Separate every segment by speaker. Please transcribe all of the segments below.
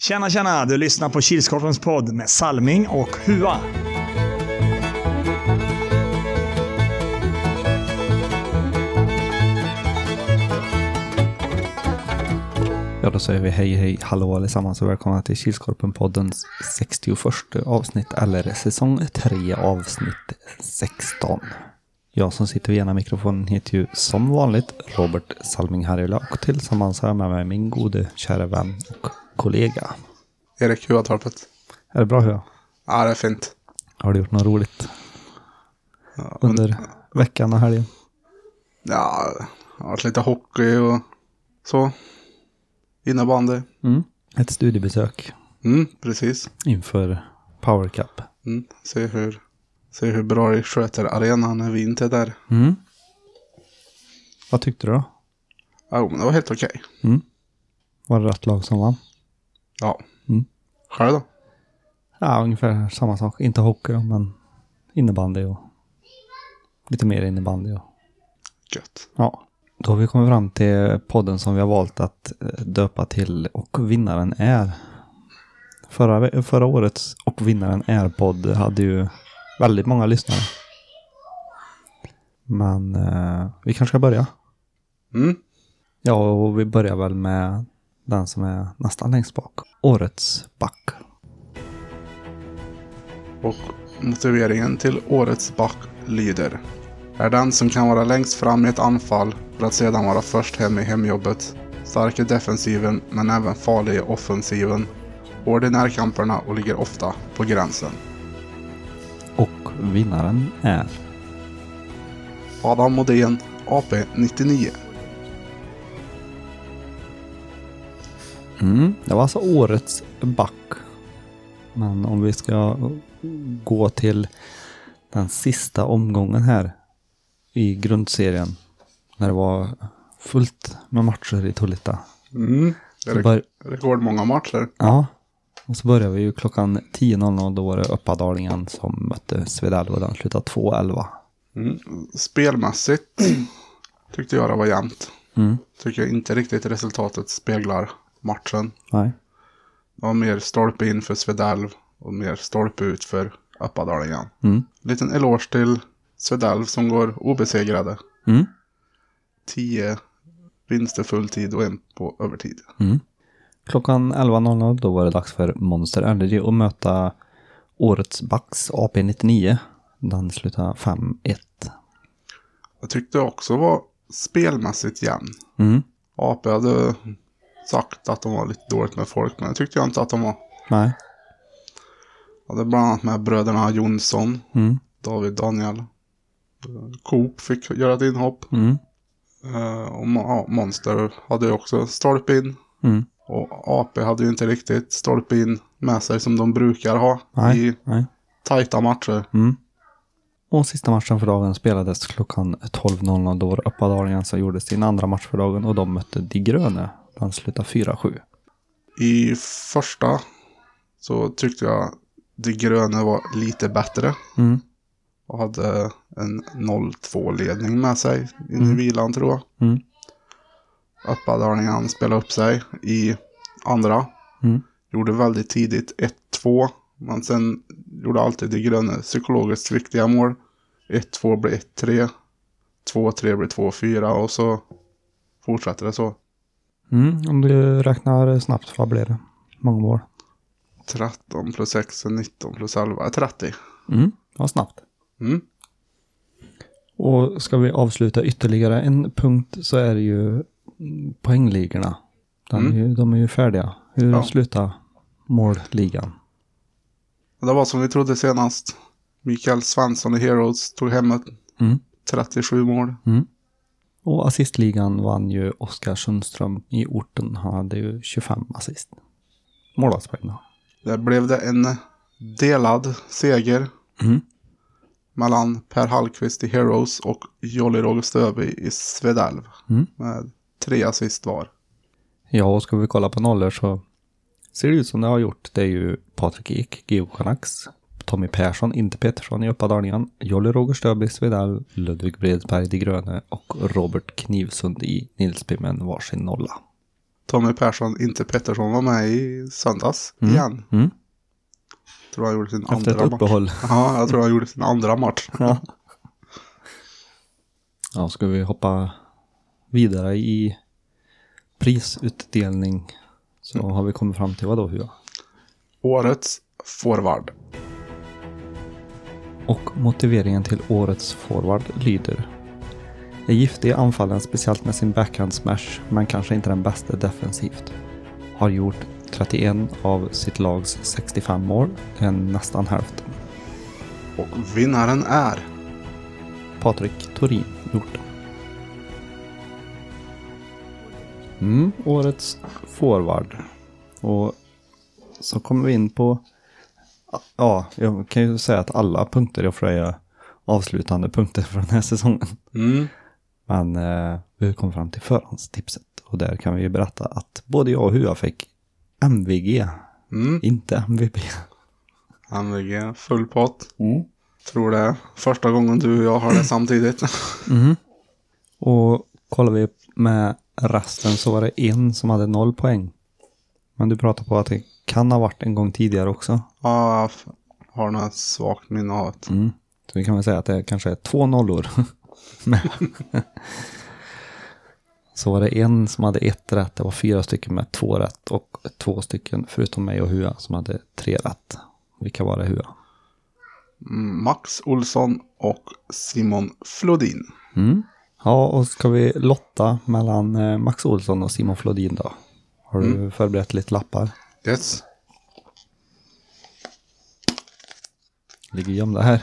Speaker 1: Tjena, tjena! Du lyssnar på Kilskorpens podd med Salming och Hua.
Speaker 2: Ja, då säger vi hej, hej, hallå allesammans och välkomna till Kilskorpen-poddens 61 avsnitt, eller säsong 3, avsnitt 16. Jag som sitter vid ena mikrofonen heter ju som vanligt Robert Salming Harjula och tillsammans har jag med mig min gode kära vän och kollega.
Speaker 3: Erik Huatorpet.
Speaker 2: Är det bra Hua?
Speaker 3: Ja, det är fint.
Speaker 2: Har du gjort något roligt under veckan och helgen?
Speaker 3: Ja, det har varit lite hockey och så. Innebandy.
Speaker 2: Mm. Ett studiebesök
Speaker 3: Mm, precis.
Speaker 2: inför Power Cup.
Speaker 3: Mm. Se, hur, se hur bra det sköter arenan när vi inte är där.
Speaker 2: Mm. Vad tyckte du då?
Speaker 3: Ja, jo, men det var helt okej.
Speaker 2: Var det rätt lag som vann?
Speaker 3: Ja.
Speaker 2: Mm.
Speaker 3: Själv då?
Speaker 2: Ja, ungefär samma sak. Inte hockey då, men innebandy och lite mer innebandy. Och,
Speaker 3: Gött.
Speaker 2: ja. Då har vi kommit fram till podden som vi har valt att eh, döpa till och vinnaren är. Förra, ve- förra årets och vinnaren är-podd hade ju väldigt många lyssnare. Men eh, vi kanske ska börja.
Speaker 3: Mm.
Speaker 2: Ja, och vi börjar väl med den som är nästan längst bak. Årets back.
Speaker 3: Och motiveringen till årets back lyder. Är den som kan vara längst fram i ett anfall för att sedan vara först hem i hemjobbet. Stark i defensiven men även farlig i offensiven. Hård i närkamperna och ligger ofta på gränsen.
Speaker 2: Och vinnaren är.
Speaker 3: Adam Modén, AP 99.
Speaker 2: Mm, det var alltså årets back. Men om vi ska gå till den sista omgången här i grundserien. När det var fullt med matcher i Tolita.
Speaker 3: Mm. Det
Speaker 2: Så
Speaker 3: är
Speaker 2: bör-
Speaker 3: rekordmånga matcher.
Speaker 2: ja, och så började vi ju klockan 10.00. Då var det Uppadalingen som mötte Svedal och den slutade 2.11.
Speaker 3: Spelmässigt tyckte jag det var jämnt.
Speaker 2: Mm.
Speaker 3: Tycker jag inte riktigt resultatet speglar matchen.
Speaker 2: Nej.
Speaker 3: Det var mer stolpe in för Svedalv och mer stolpe ut för Uppadalingen.
Speaker 2: Mm.
Speaker 3: Liten eloge till Svedalv som går obesegrade.
Speaker 2: Mm.
Speaker 3: 10 vinster fulltid och en på övertid.
Speaker 2: Klockan 11.00 då var det dags för Monster Energy att möta årets Bucks AP99. Den slutade 5-1.
Speaker 3: Jag tyckte också var spelmässigt jämn.
Speaker 2: Mm.
Speaker 3: AP hade sagt att de var lite dåligt med folk, men det tyckte jag inte att de var.
Speaker 2: Nej.
Speaker 3: Jag hade bland annat med bröderna Jonsson,
Speaker 2: Mm.
Speaker 3: David Daniel. Eh, Coop fick göra ett inhopp.
Speaker 2: Mm.
Speaker 3: Eh, Och Mo- ja, Monster hade ju också stolpe in.
Speaker 2: Mm.
Speaker 3: Och AP hade ju inte riktigt stolpe in med sig som de brukar ha
Speaker 2: Nej.
Speaker 3: i
Speaker 2: Nej.
Speaker 3: tajta matcher.
Speaker 2: Mm. Och sista matchen för dagen spelades klockan 12.00 då var det Uppadalingen som gjorde sin andra match för dagen och de mötte De Gröne. Den slutade 4-7.
Speaker 3: I första så tyckte jag De gröna var lite bättre.
Speaker 2: Mm.
Speaker 3: Och hade en 0-2-ledning med sig in i vilan tror jag.
Speaker 2: Mm.
Speaker 3: Uppadalingen spelade upp sig i andra.
Speaker 2: Mm.
Speaker 3: Gjorde väldigt tidigt 1-2. Men sen gjorde alltid de gröna psykologiskt viktiga mål. 1-2 blev 1-3. 2-3 blev 2-4 och så fortsatte det så.
Speaker 2: Mm. Om du räknar snabbt, vad blir det? Många mål?
Speaker 3: 13 plus 6 är 19 plus 11 är 30.
Speaker 2: Mm. Det var snabbt.
Speaker 3: Mm.
Speaker 2: Och ska vi avsluta ytterligare en punkt så är det ju mm, poängligorna. Den är ju, de är ju färdiga. Hur
Speaker 3: Ja.
Speaker 2: slutar målligan?
Speaker 3: Det var som vi trodde senast. Mikael Svensson i Heroes tog hem ett
Speaker 2: Mm.
Speaker 3: 37 mål.
Speaker 2: Och assistligan vann ju Oskar Sundström i orten. Han hade ju 25 assist. Målvaktspoäng då.
Speaker 3: Där blev det en delad seger.
Speaker 2: Mm.
Speaker 3: Mellan Per Hallqvist i Heroes och Jolly Roger Stöby i Svedalv.
Speaker 2: Mm.
Speaker 3: Med tre assist var.
Speaker 2: Ja, och ska vi kolla på nollor så ser det ut som det har gjort. Det är ju Patrik Ek, Geo Canucks, Tommy Persson, inte Pettersson i Uppadalingen, Jolly Roger Stöby, Svedal, Ludvig Bredsberg, De Gröne och Robert Knivsund i Nilsby med en varsin nolla.
Speaker 3: Tommy Persson, inte Pettersson, var med i söndags
Speaker 2: Mm.
Speaker 3: igen.
Speaker 2: Mm.
Speaker 3: tror han gjorde sin
Speaker 2: Efter
Speaker 3: andra
Speaker 2: ett
Speaker 3: match.
Speaker 2: uppehåll.
Speaker 3: Ja, jag tror han gjorde sin andra match.
Speaker 2: Ja. ja, ska vi hoppa vidare i prisutdelning. Så har vi kommit fram till vad då, Hua?
Speaker 3: Årets forward.
Speaker 2: Och motiveringen till årets forward lyder. Är giftig i anfallen, speciellt med sin backhand smash, men kanske inte den bästa defensivt. Har gjort 31 av sitt lags 65 mål, det är nästan hälften.
Speaker 3: Och vinnaren är...
Speaker 2: Patrik Torin gjort det. Mm, årets forward. Och så kommer vi in på... Ja, jag kan ju säga att alla punkter jag får är avslutande punkter för den här säsongen.
Speaker 3: Mm.
Speaker 2: Men eh, vi kom fram till förhandstipset och där kan vi ju berätta att både jag och Hua fick MVG,
Speaker 3: Mm.
Speaker 2: inte MVP.
Speaker 3: MVG, full pott.
Speaker 2: Mm.
Speaker 3: Tror det är första gången du och jag har det samtidigt.
Speaker 2: Och kollar vi med resten så var det en som hade noll poäng. Men du pratar på att det kan ha varit en gång tidigare också.
Speaker 3: ja, jag f- har något svagt minne av det.
Speaker 2: Så vi kan väl säga att det kanske är två nollor. Men- så var det en som hade ett rätt, det var fyra stycken med två rätt och två stycken förutom mig och Hua som hade tre rätt. Vilka var det Hua?
Speaker 3: Mm, Max Olsson och Simon Flodin.
Speaker 2: Mm. Ja, och ska vi lotta mellan eh, Max Olsson och Simon Flodin då? Har du förberett lite lappar?
Speaker 3: Yes.
Speaker 2: Ligger gömda här.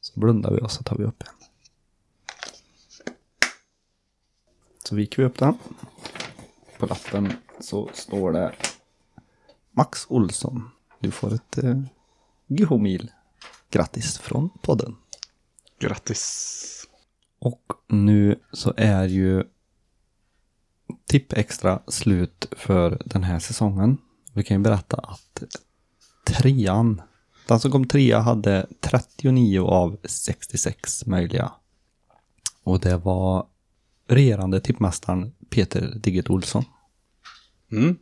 Speaker 2: Så blundar vi och så tar vi upp en. Så viker vi upp den. På lappen så står det Max Olsson. Du får ett eh, GH-mil. Grattis från podden.
Speaker 3: Grattis.
Speaker 2: Och nu så är ju Tipp Extra slut för den här säsongen. Vi kan ju berätta att trean, den som kom trea hade 39 av 66 möjliga. Och det var regerande tippmästaren Peter Digget Olsson.
Speaker 3: Mm.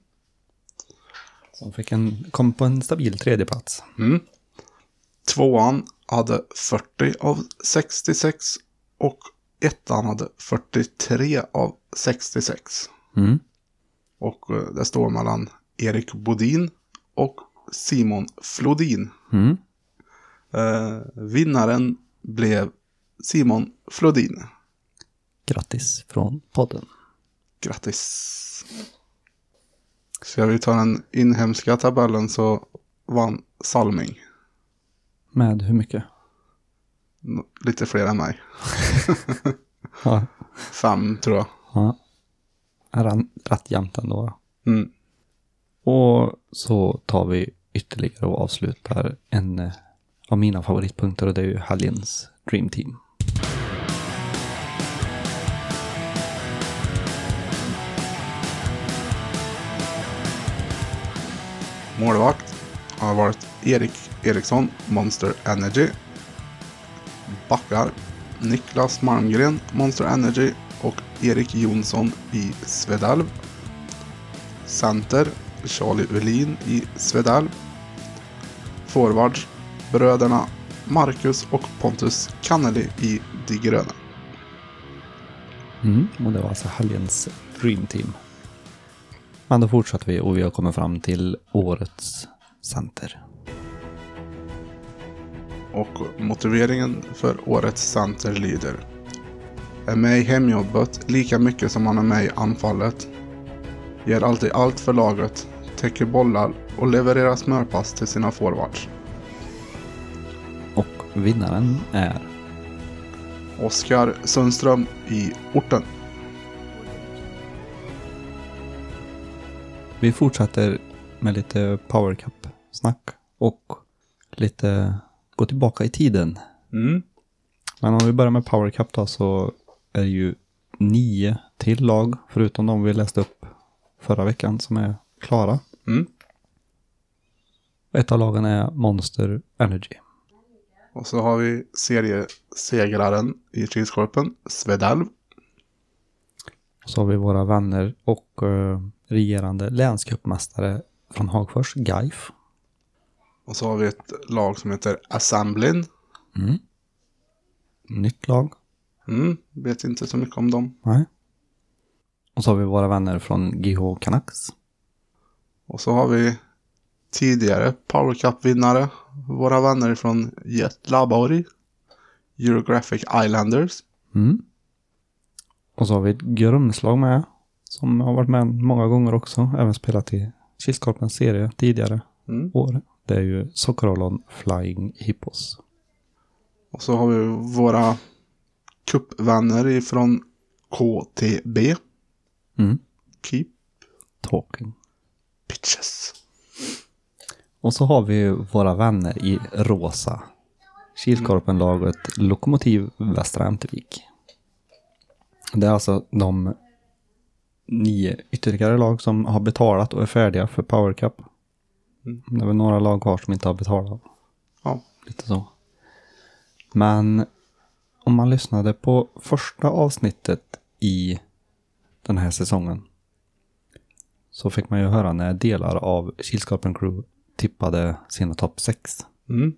Speaker 2: Som fick en, kom på en stabil tredjeplats.
Speaker 3: Tvåan hade 40 av 66 och ettan hade 43 av 66.
Speaker 2: Mm.
Speaker 3: Och eh, det står mellan Erik Bodin och Simon Flodin.
Speaker 2: Mm.
Speaker 3: Eh, vinnaren blev Simon Flodin.
Speaker 2: Grattis från podden.
Speaker 3: Grattis! Ska vi ta den inhemska tabellen så vann Salming.
Speaker 2: Med hur mycket?
Speaker 3: N- Lite fler än mig.
Speaker 2: Ja.
Speaker 3: Fem tror jag.
Speaker 2: ja. Är han rätt jämnt ändå? va?
Speaker 3: Mm.
Speaker 2: Och så tar vi ytterligare och avslutar en eh, av mina favoritpunkter och det är ju helgens Dream Team.
Speaker 3: Målvakt har varit Erik Eriksson, Monster Energy. Backar Niklas Malmgren, Monster Energy och Erik Jonsson i Svedalv. Center Charlie Ulin i Svedalv. Forwards bröderna Marcus och Pontus Kanneli i De gröna.
Speaker 2: Mm. Och det var alltså helgens Dream Team. Men då fortsätter vi och vi har kommit fram till årets center.
Speaker 3: och motiveringen för årets center lyder. Är med i hemjobbet lika mycket som han är med i anfallet. Ger alltid allt för laget, täcker bollar och levererar smörpass till sina forwards.
Speaker 2: Och vinnaren är
Speaker 3: Oskar Sundström i orten.
Speaker 2: Vi fortsätter med lite power cup snack och lite gå tillbaka i tiden.
Speaker 3: Mm.
Speaker 2: Men om vi börjar med Power Cup då så är det ju nio till lag förutom de vi läste upp förra veckan som är klara.
Speaker 3: Mm.
Speaker 2: Ett av lagen är Monster Energy.
Speaker 3: Och så har vi seriesegraren i Kilskorpen, Svedalv.
Speaker 2: Och så har vi våra vänner och eh, regerande länscupmästare från Hagfors, Gaif.
Speaker 3: Och så har vi ett lag som heter Assemblin.
Speaker 2: Nytt lag.
Speaker 3: Mm, vet inte så mycket om dem.
Speaker 2: Nej. Och så har vi våra vänner från GH Canucks.
Speaker 3: Och så har vi tidigare Power Cup-vinnare. Våra vänner från Jet Laborg. Eurographic Islanders.
Speaker 2: Mm. Och så har vi ett grumslag med. Som har varit med många gånger också. Även spelat i Kilskorpens serie tidigare
Speaker 3: Mm.
Speaker 2: år. Det är ju Sockerollon Flying Hippos.
Speaker 3: Och så har vi våra cupvänner ifrån KTB.
Speaker 2: Mm.
Speaker 3: Keep
Speaker 2: Talking.
Speaker 3: Pitches.
Speaker 2: Och så har vi ju våra vänner i rosa. Kilskorpenlaget Lokomotiv Västra Ämtervik. Det är alltså de nio ytterligare lag som har betalat och är färdiga för Power Cup. Det är väl några lag kvar som inte har betalat.
Speaker 3: Ja.
Speaker 2: Lite så. Men om man lyssnade på första avsnittet i den här säsongen så fick man ju höra när delar av Kilskorpen Crew tippade sina topp 6.
Speaker 3: Mm.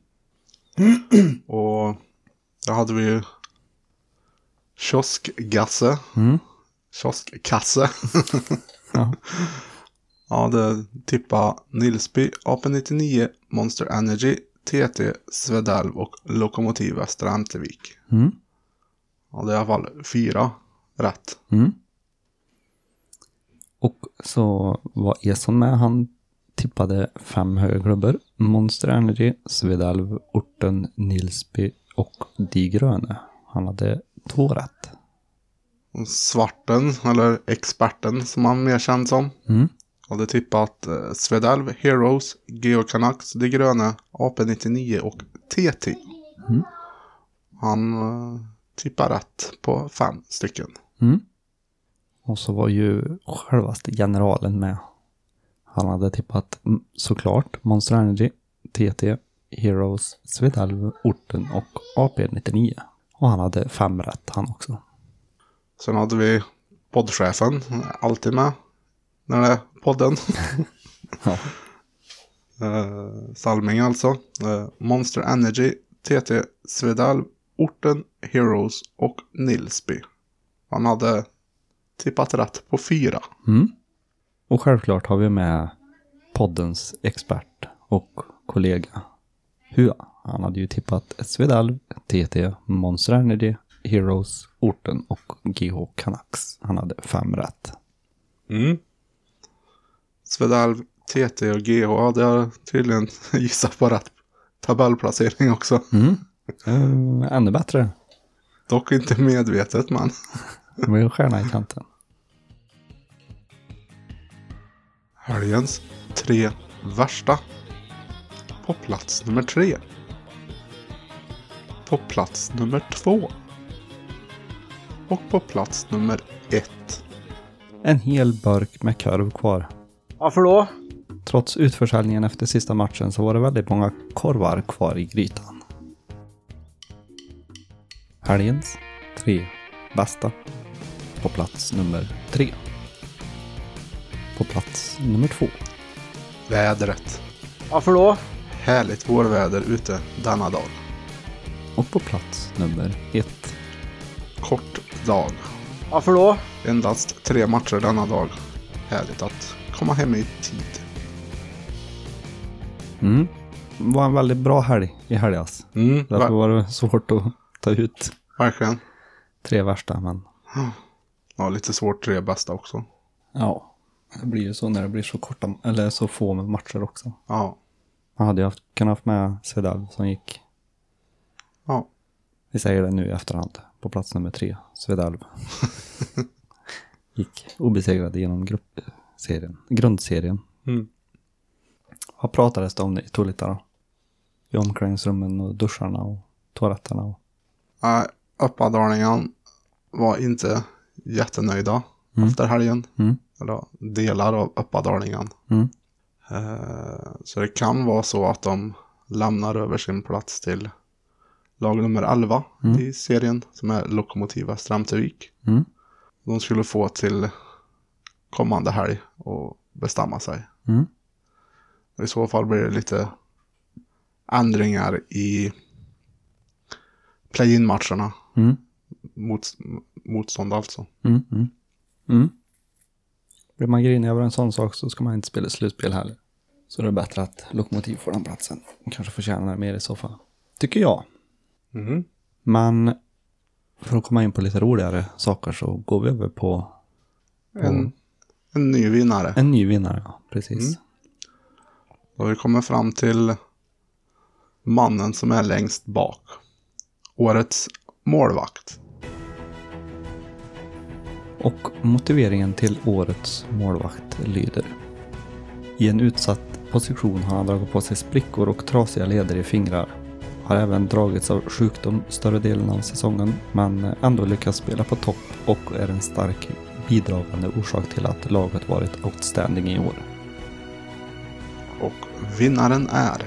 Speaker 3: Och där hade vi ju kioskgasse.
Speaker 2: Mm.
Speaker 3: Kioskkasse.
Speaker 2: Ja.
Speaker 3: ja, det tippa Nilsby, AP99, Monster Energy, TT, Svedalv och Lokomotiv Västra Ämtervik.
Speaker 2: Mm.
Speaker 3: Ja, det är i alla fall fyra rätt.
Speaker 2: Mm. Och så var Eson med. Han tippade fem högerklubbor. Monster Energy, Svedalv, Orten, Nilsby och De Gröne. Han hade två rätt.
Speaker 3: Och Svarten, eller experten som han mer känd som,
Speaker 2: Mm.
Speaker 3: hade tippat eh, Svedalv, Heroes, Geo Canucks, De Gröna, AP99 och TT. Han eh, tippar rätt på fem stycken.
Speaker 2: Mm. Och så var ju självaste generalen med. Han hade tippat mm, såklart Monster Energy, TT, Heroes, Svedalv, Orten och AP99. Och han hade fem rätt han också.
Speaker 3: Sen hade vi poddchefen, alltid med när det är podden.
Speaker 2: Ja.
Speaker 3: Eh, Salming alltså. Eh, Monster Energy, TT, Svedal, Orten, Heroes och Nilsby. Han hade tippat rätt på fyra.
Speaker 2: Mm. Och självklart har vi med poddens expert och kollega Hua. Han hade ju tippat Svedalv, TT, Monster Energy, Heroes, Orten och GH Canucks. Han hade fem rätt.
Speaker 3: Mm. Svedalv, TT och GH hade jag tydligen gissat på rätt tabellplacering också.
Speaker 2: Mm, ännu bättre.
Speaker 3: Dock inte medvetet men.
Speaker 2: Det var ju en stjärna i kanten.
Speaker 3: Helgens tre värsta. På plats nummer tre. På plats nummer två. Och på plats nummer ett.
Speaker 2: En hel burk med korv kvar.
Speaker 4: Varför då?
Speaker 2: Trots utförsäljningen efter sista matchen så var det väldigt många korvar kvar i grytan. Helgens tre bästa. På plats nummer tre. På plats nummer två.
Speaker 3: Vädret.
Speaker 4: Varför då?
Speaker 3: Härligt vårväder ute denna dag.
Speaker 2: Och på plats nummer ett.
Speaker 3: Kort dag.
Speaker 4: Varför då?
Speaker 3: Endast tre matcher denna dag. Härligt att komma hem i tid.
Speaker 2: Mm. Det var en väldigt bra helg i helgas.
Speaker 3: Mm,
Speaker 2: Därför
Speaker 3: ver-
Speaker 2: var det svårt att ta ut
Speaker 3: verkligen.
Speaker 2: tre värsta, men
Speaker 3: Ja, lite svårt tre bästa också.
Speaker 2: Ja, det blir ju så när det blir så korta, eller så få med matcher också.
Speaker 3: Ja,
Speaker 2: Man hade ju haft, kunnat haft med Svedal som gick,
Speaker 3: ja.
Speaker 2: vi säger det nu i efterhand, på plats nummer tre, Svedalv. gick obesegrade genom gruppserien, grundserien.
Speaker 3: Mm.
Speaker 2: Vad pratades det om det i Tolita då? I omklädningsrummen och duscharna och toaletterna och...
Speaker 3: Nej, Uppadalingen var inte jättenöjda efter helgen.
Speaker 2: Mm.
Speaker 3: Eller ja, delar av Uppadalingen.
Speaker 2: Mm.
Speaker 3: Eh, så det kan vara så att de lämnar över sin plats till lag nummer 11 i serien, som är Lokomotiva Stramtevik.
Speaker 2: Mm.
Speaker 3: De skulle få till kommande helg och bestämma sig.
Speaker 2: Mm.
Speaker 3: Och I så fall blir det lite ändringar i play-in-matcherna.
Speaker 2: Mm.
Speaker 3: Mot, motstånd alltså.
Speaker 2: Mm. Mm. Mm. Blir man grinig över en sån sak så ska man inte spela slutspel heller. Så det är bättre att Lokomotiv får den platsen. De kanske förtjänar det mer i så fall. Tycker jag.
Speaker 3: Mhm.
Speaker 2: Men för att komma in på lite roligare saker så går vi över på
Speaker 3: En, en ny vinnare.
Speaker 2: en ny vinnare. Ja, precis.
Speaker 3: Då har vi kommit fram till mannen som är längst bak. Årets målvakt.
Speaker 2: Och motiveringen till årets målvakt lyder. I en utsatt position har han dragit på sig sprickor och trasiga leder i fingrar. Har även dragits av sjukdom större delen av säsongen men ändå lyckats spela på topp och är en stark bidragande orsak till att laget varit outstanding i år.
Speaker 3: Och vinnaren är...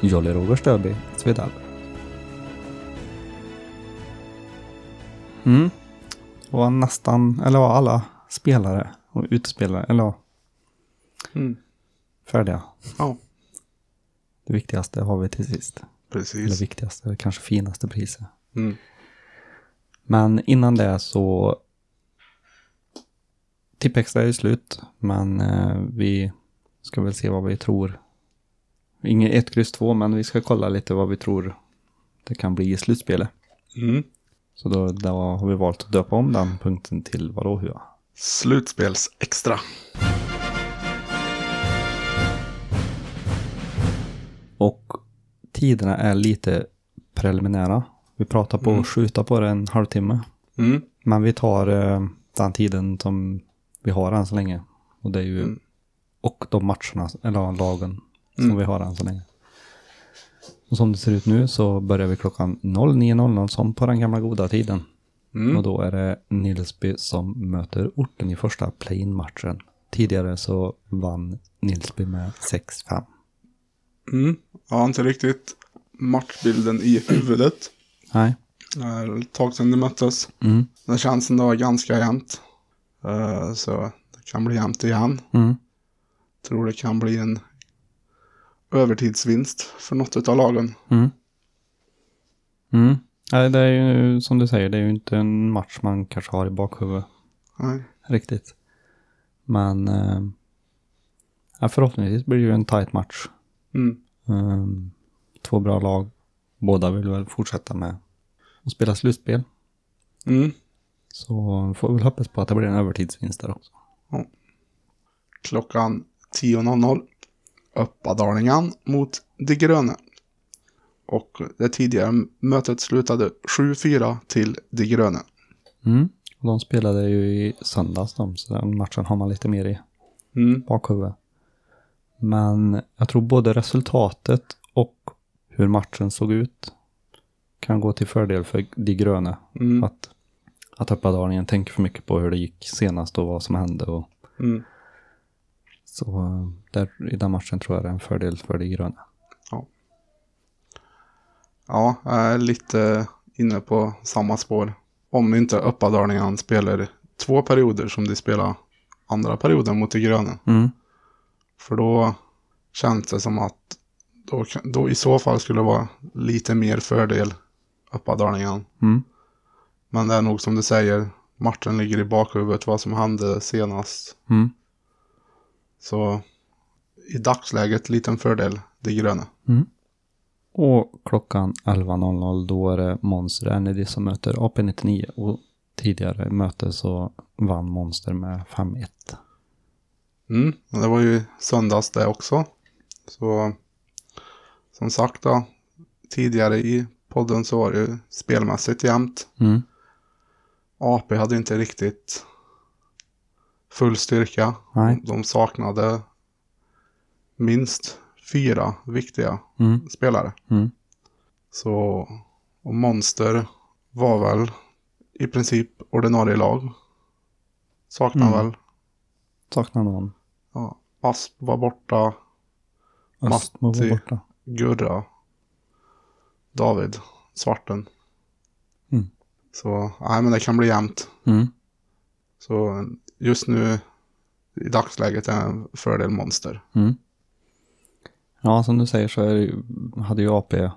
Speaker 2: Jolly Roger Stöby, Svedal. Mm. Det var nästan, eller var alla spelare och utespelare, eller ja,
Speaker 3: Mm.
Speaker 2: färdiga.
Speaker 3: Ja,
Speaker 2: Det viktigaste har vi till sist. Eller
Speaker 3: precis.
Speaker 2: viktigaste, eller kanske finaste priset.
Speaker 3: Mm.
Speaker 2: Men innan det så... Tipextra är ju slut, men eh, vi ska väl se vad vi tror. Inget 1, kryss 2, men vi ska kolla lite vad vi tror det kan bli i slutspelet.
Speaker 3: Mm.
Speaker 2: Så då, då har vi valt att döpa om den punkten till vadå hua?
Speaker 3: Slutspelsextra.
Speaker 2: Och tiderna är lite preliminära. Vi pratar på att skjuta på det en halvtimme.
Speaker 3: Mm.
Speaker 2: Men vi tar eh, den tiden som vi har än så länge. Och det är ju... Och de matcherna, eller ja, lagen, som vi har än så länge. Och som det ser ut nu så börjar vi klockan 09.00 som på den gamla goda tiden. Och då är det Nilsby som möter orten i första play-in-matchen. Tidigare så vann Nilsby med 6-5.
Speaker 3: Mm. Jag har inte riktigt matchbilden i huvudet.
Speaker 2: Nej.
Speaker 3: Det är ett tag sedan de möttes.
Speaker 2: Mm.
Speaker 3: Det känns ändå ganska jämnt. Eh, så det kan bli jämnt igen.
Speaker 2: Mm.
Speaker 3: Tror det kan bli en övertidsvinst för något av lagen.
Speaker 2: Mm. Mm. Nej, det är ju som du säger, det är ju inte en match man kanske har i bakhuvudet
Speaker 3: Nej.
Speaker 2: riktigt. Men eh, ja, förhoppningsvis blir det ju en tight match.
Speaker 3: Mm.
Speaker 2: Ehm, två bra lag. Båda vill väl fortsätta med att spela slutspel.
Speaker 3: Mm.
Speaker 2: Så får vi väl hoppas på att det blir en övertidsvinst där också.
Speaker 3: Klockan 10.00. Öppadalingan mot De gröna. Och det tidigare mötet slutade 7-4 till De gröna.
Speaker 2: Mm. Och de spelade ju i söndags de, så den matchen har man lite mer i
Speaker 3: Mm.
Speaker 2: bakhuvudet. Men jag tror både resultatet och hur matchen såg ut kan gå till fördel för de gröna.
Speaker 3: Mm.
Speaker 2: Att, att Uppadalingen tänker för mycket på hur det gick senast och vad som hände. Och,
Speaker 3: Mm.
Speaker 2: så eh, där, i den matchen tror jag det är en fördel för de gröna.
Speaker 3: Ja, jag är lite inne på samma spår. Om inte Öppadalingan spelar två perioder som de spelar andra perioden mot De gröna.
Speaker 2: Mm.
Speaker 3: För då känns det som att då, kan- då i så fall skulle det vara lite mer fördel Öppadalingan.
Speaker 2: Mm.
Speaker 3: Men det är nog som du säger, matchen ligger i bakhuvudet vad som hände senast.
Speaker 2: Mm.
Speaker 3: Så i dagsläget liten fördel De gröna.
Speaker 2: Och klockan 11.00 då är det Monster Energy som möter AP99 och tidigare möte så vann Monster med 5-1.
Speaker 3: Mm, och det var ju söndags det också. Så som sagt då, tidigare i podden så var det ju spelmässigt jämnt.
Speaker 2: Mm.
Speaker 3: AP hade inte riktigt full styrka.
Speaker 2: Nej.
Speaker 3: De saknade minst fyra viktiga
Speaker 2: Mm.
Speaker 3: spelare.
Speaker 2: Mm.
Speaker 3: Så, och Monster var väl i princip ordinarie lag. Saknar
Speaker 2: Mm.
Speaker 3: väl.
Speaker 2: Saknar någon.
Speaker 3: Ja, Asp var borta.
Speaker 2: Östmo var
Speaker 3: Matti.
Speaker 2: borta.
Speaker 3: Gurra David, svarten.
Speaker 2: Mm.
Speaker 3: Så, nej men det kan bli jämnt.
Speaker 2: Mm.
Speaker 3: Så just nu i dagsläget är en fördel monster.
Speaker 2: mm. Ja, som du säger så är, det ju- hade ju AP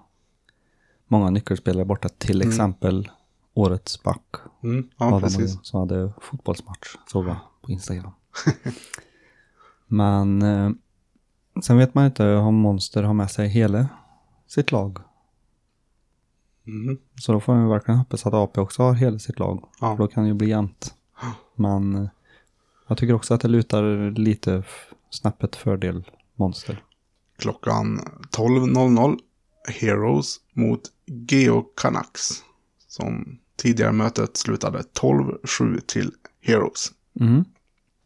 Speaker 2: många nyckelspelare borta. Till exempel årets back
Speaker 3: Mm, ja,
Speaker 2: Adam och
Speaker 3: precis.
Speaker 2: jag, som hade fotbollsmatch, såg jag på Instagram. Men eh, sen vet man inte om Monster har med sig hela sitt lag.
Speaker 3: Mm,
Speaker 2: Så då får man ju verkligen hoppas att AP också har hela sitt lag.
Speaker 3: Ja.
Speaker 2: För då kan det ju bli jämnt. Men eh, jag tycker också att det lutar lite f- snäppet fördel Monster.
Speaker 3: klockan 12.00 Heroes mot Geo Canucks. Som tidigare mötet slutade 12-7 till Heroes.
Speaker 2: Mm.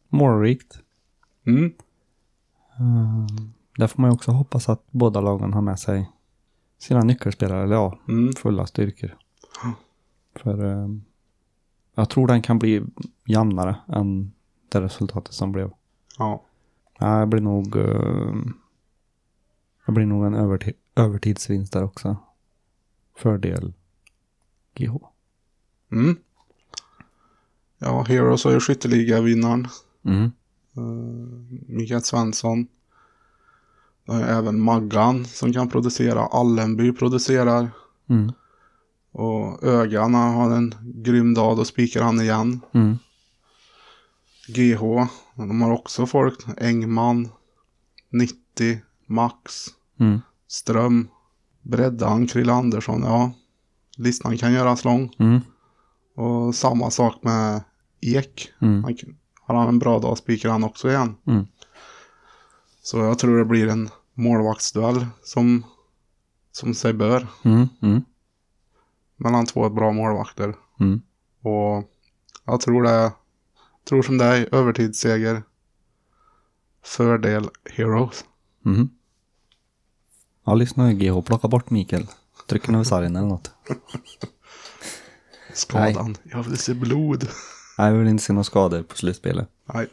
Speaker 2: Målrikt.
Speaker 3: Mm,
Speaker 2: Eh, Där får man ju också hoppas att båda lagen har med sig sina nyckelspelare, eller ja,
Speaker 3: mm,
Speaker 2: fulla styrkor.
Speaker 3: Ja.
Speaker 2: För eh, jag tror den kan bli jämnare än det resultatet som blev.
Speaker 3: ja.
Speaker 2: Nej, det blir nog... eh, Det blir nog en överti- övertidsvinst där också. Fördel GH.
Speaker 3: Mm. Ja, Heroes har ju skytteligavinnaren.
Speaker 2: Mm.
Speaker 3: Mikael Svensson. Det är även Maggan som kan producera. Allenby producerar.
Speaker 2: Mm.
Speaker 3: Och Ögan han har en grym dag. Då spikar han igen.
Speaker 2: Mm.
Speaker 3: GH. De har också folk. Engman. 90. Max.
Speaker 2: Mm.
Speaker 3: Ström. Breddan. Krill Andersson. Ja. Listan kan göras lång.
Speaker 2: Mm.
Speaker 3: Och samma sak med Ek.
Speaker 2: Mm.
Speaker 3: Han, kan- har han en bra dag spikar han också igen.
Speaker 2: Mm.
Speaker 3: Så jag tror det blir en målvaktsduell som, som sig bör.
Speaker 2: Mm. Mm.
Speaker 3: Mellan två bra målvakter.
Speaker 2: Mm.
Speaker 3: Och jag tror det. Tror som dig, övertidsseger. Fördel Heroes.
Speaker 2: Mm. Ja, lyssna nu GH. Plocka bort Mikael. Tryck över sargen eller något.
Speaker 3: Skadan. Jag vill se blod.
Speaker 2: Nej, vi vill inte se några skador på slutspelet.
Speaker 3: Nej.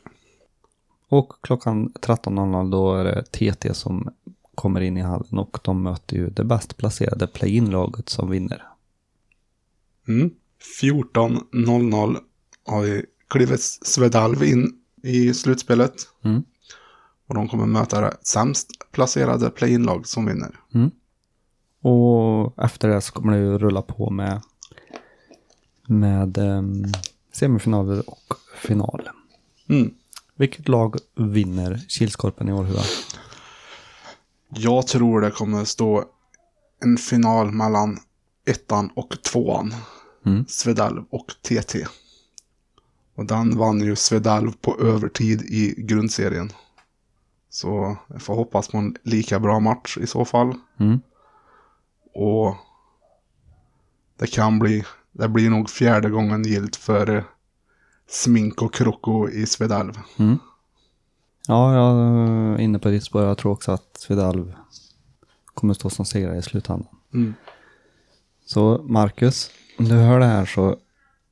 Speaker 2: Och klockan 13.00 då är det TT som kommer in i hallen och de möter ju det bäst placerade play-in-laget som vinner.
Speaker 3: Mm. 14.00 har vi Klivets Svedalv in i slutspelet.
Speaker 2: Mm.
Speaker 3: Och de kommer möta det sämst placerade play-in-lag som vinner.
Speaker 2: Och efter det så kommer det ju rulla på med, med ehm, semifinaler och final.
Speaker 3: Mm.
Speaker 2: Vilket lag vinner Kilskorpen i Århus?
Speaker 3: Jag tror det kommer stå en final mellan ettan och tvåan.
Speaker 2: Mm.
Speaker 3: Svedalv och TT. Och den vann ju Svedalv på övertid i grundserien. Så jag får hoppas på en lika bra match i så fall.
Speaker 2: Mm.
Speaker 3: Och det kan bli, det blir nog fjärde gången gilt för eh, Smink och Kroko i Svedalv.
Speaker 2: Ja, jag är inne på ditt spår. Jag tror också att Svedalv kommer stå som segrare i slutändan.
Speaker 3: Mm.
Speaker 2: Så Marcus, om du hör det här så,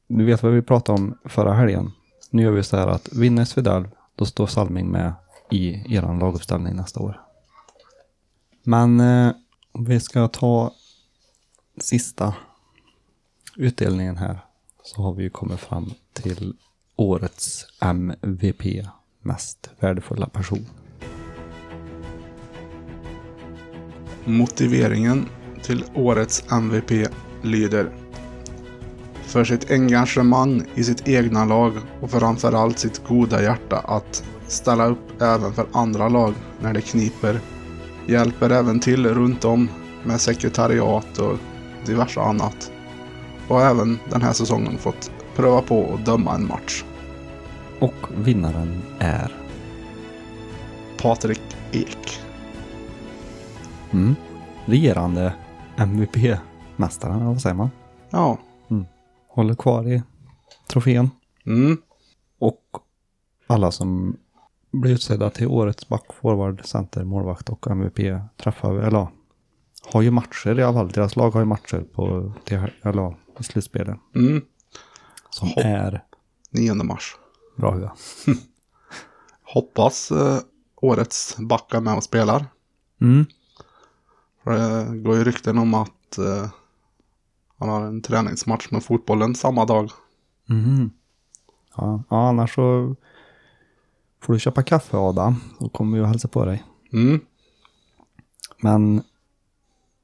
Speaker 2: du vet vad vi pratade om förra helgen. Nu gör vi så här att vinner Svedalv, då står Salming med i eran laguppställning nästa år. Men eh, vi ska ta sista utdelningen här. Så har vi ju kommit fram till årets MVP, mest värdefulla person.
Speaker 3: Motiveringen till årets MVP lyder För sitt engagemang i sitt egna lag och framförallt sitt goda hjärta att ställa upp även för andra lag när det kniper. Hjälper även till runt om med sekretariat och diverse annat. Och även den här säsongen fått pröva på att döma en match.
Speaker 2: Och vinnaren är
Speaker 3: Patrik Ek.
Speaker 2: Mm. Regerande MVP-mästaren, eller vad säger man?
Speaker 3: Ja.
Speaker 2: Håller kvar i trofén.
Speaker 3: Mm.
Speaker 2: Och alla som blir utsedda till årets back, forward, center, målvakt och MVP träffar, eller ja, har ju matcher i alla fall. Deras lag har ju matcher på, till- eller ja, i slutspelet.
Speaker 3: Mm.
Speaker 2: Som är
Speaker 3: 9 mars.
Speaker 2: bra huvud.
Speaker 3: Hoppas eh, årets back är med och spelar.
Speaker 2: Mm.
Speaker 3: För det går ju rykten om att att eh, han har en träningsmatch med fotbollen samma dag.
Speaker 2: Mhm. Ja, ja, annars så får du köpa kaffe Adam. Då kommer vi och hälsa på dig.
Speaker 3: Mm.
Speaker 2: Men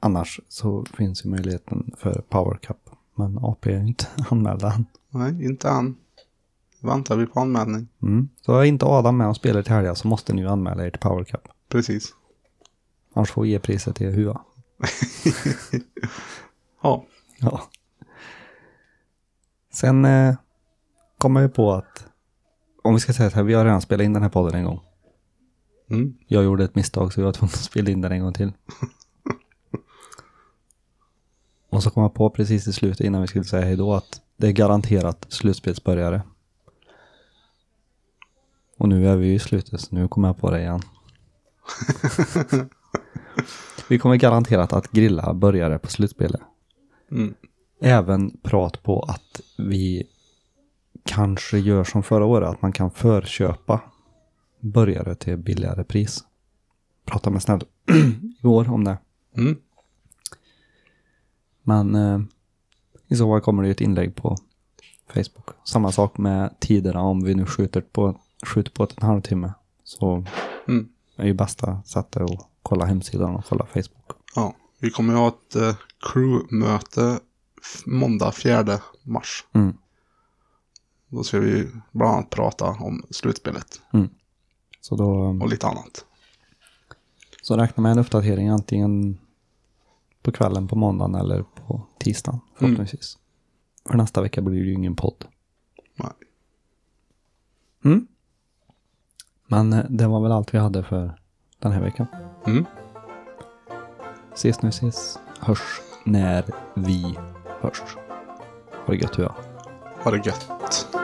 Speaker 2: annars så finns ju möjligheten för Power Cup. Men AP är inte anmälda än.
Speaker 3: Nej, inte än. Väntar vi på anmälning.
Speaker 2: Mm. Så är inte Adam med och spelar till helgen så måste ni ju anmäla er till Power Cup.
Speaker 3: Precis.
Speaker 2: Annars får vi ge priset till Hua.
Speaker 3: Ja.
Speaker 2: Ja. Sen eh, kommer vi på att, om vi ska säga så här, vi har redan spelat in den här podden en gång.
Speaker 3: Mm.
Speaker 2: Jag gjorde ett misstag så jag var tvungen att spela in den en gång till. Och så kom jag på precis i slutet innan vi skulle säga hejdå att det är garanterat slutspelsbörjare. Och nu är vi ju i slutet så nu kommer jag på det igen. vi kommer garanterat att grilla börjare på slutspelet.
Speaker 3: Mm.
Speaker 2: Även prat på att vi kanske gör som förra året, att man kan förköpa börjare till billigare pris. Pratade med Snäll igår om det.
Speaker 3: Mm.
Speaker 2: Men eh, i så fall kommer det ju ett inlägg på Facebook. Samma sak med tiderna om vi nu skjuter på, skjuter på ett en halvtimme. Så
Speaker 3: Mm.
Speaker 2: är ju bästa sättet att kolla hemsidan och kolla Facebook.
Speaker 3: Ja. Vi kommer ju ha ett eh, crewmöte f- måndag 4 mars.
Speaker 2: Mm.
Speaker 3: Då ska vi bland annat prata om slutspelet
Speaker 2: Så då... eh,
Speaker 3: och lite annat.
Speaker 2: Så räkna med en uppdatering antingen på kvällen på måndagen eller på tisdagen förhoppningsvis. För nästa vecka blir det ju ingen podd.
Speaker 3: Nej.
Speaker 2: Mm. Men eh, det var väl allt vi hade för den här veckan.
Speaker 3: Mm.
Speaker 2: Ses nu ses. Hörs när vi hörs. Ha det gött, Hua.
Speaker 3: Ha det gött.